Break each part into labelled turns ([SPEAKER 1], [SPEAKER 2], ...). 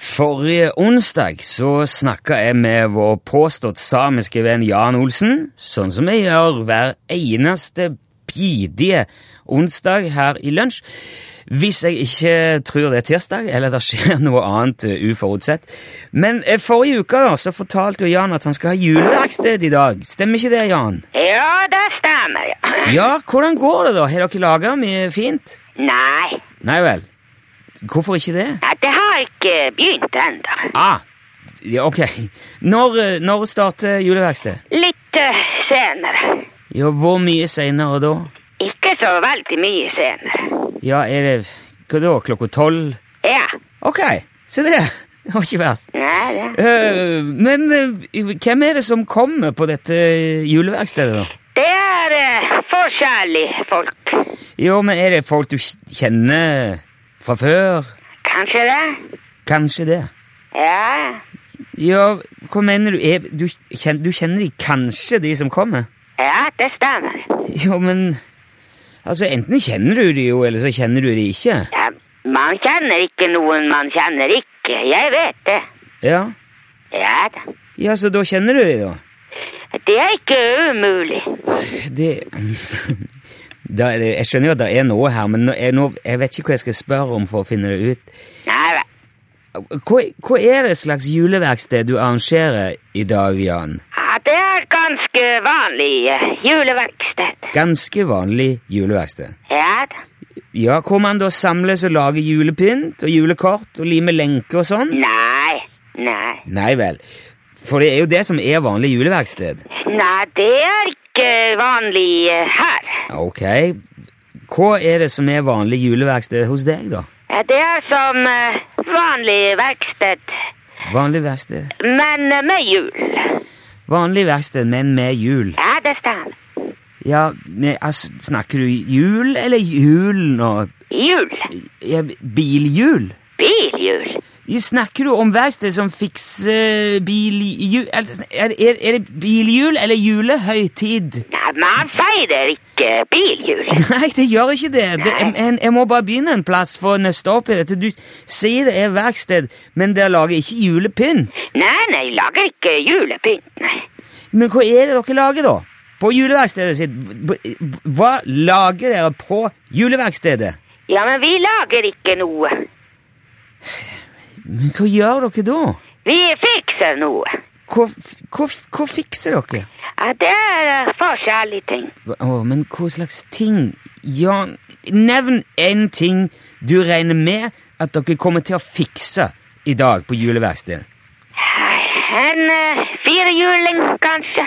[SPEAKER 1] Forrige onsdag så snakka jeg med vår påstått samiske venn Jan Olsen, sånn som jeg gjør hver eneste bidige onsdag her i lunsj. Hvis jeg ikke tror det er tirsdag, eller det skjer noe annet eh, uforutsett. Men eh, forrige uke da, så fortalte jo Jan at han skal ha juleverksted i dag. Stemmer ikke det, Jan?
[SPEAKER 2] Ja, det stemmer, ja.
[SPEAKER 1] Ja, hvordan går det, da? Har dere laga mye fint?
[SPEAKER 2] Nei,
[SPEAKER 1] Nei vel. Hvorfor ikke det?
[SPEAKER 2] nei, det har ikke begynt enda.
[SPEAKER 1] Ah, ja, ok. Når, eh, når starter juleverksted?
[SPEAKER 2] Litt eh, senere.
[SPEAKER 1] Ja, hvor mye senere da?
[SPEAKER 2] Ikke så veldig mye senere.
[SPEAKER 1] Ja, er det hva da, klokka tolv?
[SPEAKER 2] Ja,
[SPEAKER 1] Ok, se det. Det var ikke verst.
[SPEAKER 2] nei, det.
[SPEAKER 1] Eh, men eh, hvem er det som kommer på dette juleverkstedet, da?
[SPEAKER 2] Det er eh, forskjellige folk.
[SPEAKER 1] Jo, men er det folk du kjenner fra før?
[SPEAKER 2] Kanskje det?
[SPEAKER 1] Kanskje det.
[SPEAKER 2] Ja,
[SPEAKER 1] Ja, hva mener du? Er, du, kjen, du kjenner de kanskje, de som kommer?
[SPEAKER 2] ja, det stemmer.
[SPEAKER 1] Jo, men Altså, enten kjenner du de jo, eller så kjenner du de ikke.
[SPEAKER 2] Ja, man kjenner ikke noen man kjenner ikke. Jeg vet det.
[SPEAKER 1] Ja.
[SPEAKER 2] Ja, da.
[SPEAKER 1] Ja, så da kjenner du de, da?
[SPEAKER 2] det er ikke umulig.
[SPEAKER 1] det, da er det Jeg skjønner jo at det er noe her, men nå, jeg, nå, jeg vet ikke hva jeg skal spørre om for å finne det ut.
[SPEAKER 2] Nei, vel.
[SPEAKER 1] Hva, hva er det slags juleverksted du arrangerer i dag, Jan?
[SPEAKER 2] ja, det er ganske vanlig eh, juleverksted.
[SPEAKER 1] Ganske vanlig juleverksted.
[SPEAKER 2] Ja, da.
[SPEAKER 1] Ja, Hvor man da samles og lager julepynt og julekort og limer lenker og sånn?
[SPEAKER 2] Nei, nei.
[SPEAKER 1] Nei vel. For det er jo det som er vanlig juleverksted.
[SPEAKER 2] Nei, det er ikke vanlig eh, her.
[SPEAKER 1] Ok. Hva er det som er vanlig juleverksted hos deg, da?
[SPEAKER 2] Eh, Det er som eh, vanlig verksted,
[SPEAKER 1] Vanlig verksted.
[SPEAKER 2] men eh, med hjul.
[SPEAKER 1] Vanlig verksted, men med jul.
[SPEAKER 2] Ja, det stemmer.
[SPEAKER 1] Ja, men altså, snakker du jul eller jul nå?
[SPEAKER 2] Hjul.
[SPEAKER 1] Ja, bilhjul?
[SPEAKER 2] Bilhjul.
[SPEAKER 1] Snakker du om verksted som fikser bilhjul altså, er, er, er det bilhjul eller julehøytid?
[SPEAKER 2] Nei, man feirer ikke bilhjul.
[SPEAKER 1] Nei, det gjør ikke det. det jeg, jeg- jeg må bare begynne en plass for å nøste opp i dette. Du sier det er verksted, men dere lager ikke julepynt.
[SPEAKER 2] Nei, nei, lager ikke julepynt, nei.
[SPEAKER 1] Men hva er det dere lager, da? På juleverkstedet sitt? Hva lager dere på juleverkstedet?
[SPEAKER 2] Ja, men vi lager ikke noe.
[SPEAKER 1] Men hva gjør dere da?
[SPEAKER 2] Vi fikser noe.
[SPEAKER 1] Hva, f- hva, f- hva fikser dere?
[SPEAKER 2] Ja, det er eh, forskjellige ting.
[SPEAKER 1] Hva- Å, men hva slags ting? Ja, nevn én ting du regner med at dere kommer til å fikse i dag på juleverkstedet.
[SPEAKER 2] En eh, firehjuling, kanskje.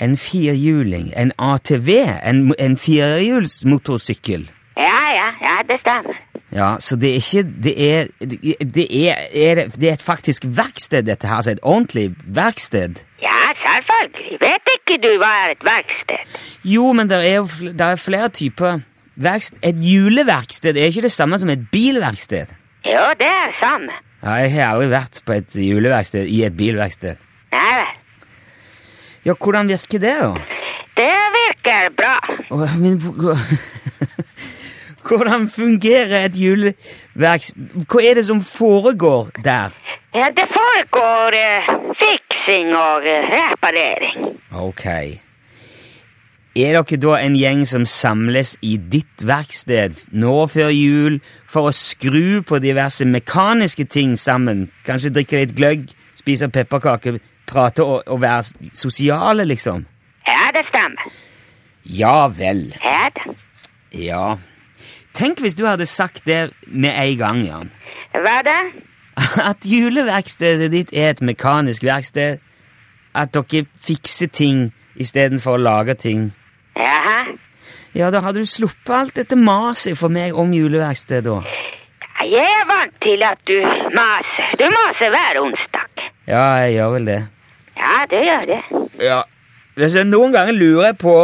[SPEAKER 1] En firhjuling, en ATV, en, mo- en firehjulsmotorsykkel.
[SPEAKER 2] Ja, ja, ja, det stemmer.
[SPEAKER 1] Ja, så det er ikke Det er Det er, er, det, det er et faktisk verksted, dette her. Altså et ordentlig verksted.
[SPEAKER 2] Ja, selvfølgelig. Vet ikke du hva er et verksted?
[SPEAKER 1] Jo, men det er jo fl- der er flere typer verksted. Et juleverksted er ikke det samme som et bilverksted.
[SPEAKER 2] Jo, det er samme.
[SPEAKER 1] Ja, jeg har aldri vært på et juleverksted i et bilverksted.
[SPEAKER 2] Nei vel.
[SPEAKER 1] Ja, hvordan virker det, da?
[SPEAKER 2] Det virker bra.
[SPEAKER 1] Åh, Men hvor- hvor- Hvordan fungerer et juleverksted Hva er det som foregår der?
[SPEAKER 2] Ja, det foregår eh, fiksing og eh, reparering.
[SPEAKER 1] Ok. Er dere da en gjeng som samles i ditt verksted nå før jul for å skru på diverse mekaniske ting sammen? Kanskje drikke litt gløgg, spise pepperkaker, prate og, og være s- sosiale, liksom?
[SPEAKER 2] Ja, det stemmer.
[SPEAKER 1] Ja vel.
[SPEAKER 2] Ja, da.
[SPEAKER 1] Ja. Tenk hvis du hadde sagt det med en gang, Jan.
[SPEAKER 2] Hva da?
[SPEAKER 1] At juleverkstedet ditt er et mekanisk verksted. At dere fikser ting istedenfor å lage ting.
[SPEAKER 2] Jaha.
[SPEAKER 1] Ja, da hadde du sluppet alt dette maset for meg om juleverkstedet da.
[SPEAKER 2] Jeg er vant til at du maser. Du maser hver onsdag.
[SPEAKER 1] Ja, jeg gjør vel det.
[SPEAKER 2] Ja, det gjør det.
[SPEAKER 1] Ja. Altså, noen ganger lurer jeg på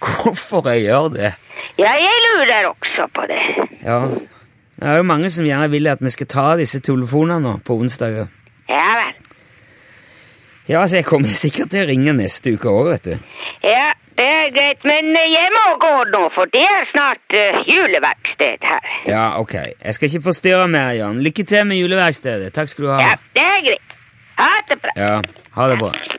[SPEAKER 1] hvorfor jeg gjør det.
[SPEAKER 2] Ja, jeg lurer også på det.
[SPEAKER 1] Ja. Det er jo mange som gjerne vil at vi skal ta disse telefonene nå på onsdager.
[SPEAKER 2] Ja vel.
[SPEAKER 1] Ja, altså, jeg kommer sikkert til å ringe neste uke òg, vet du.
[SPEAKER 2] Ja, Eh, greit, men eh, jeg må gå nå, for det er snart eh, juleverksted her.
[SPEAKER 1] Ja, ok. Jeg skal ikke forstyrre mer, Jan. Lykke til med juleverkstedet. Takk skal du ha.
[SPEAKER 2] Ja, det er greit. Ha det bra.
[SPEAKER 1] Ja, ha det bra.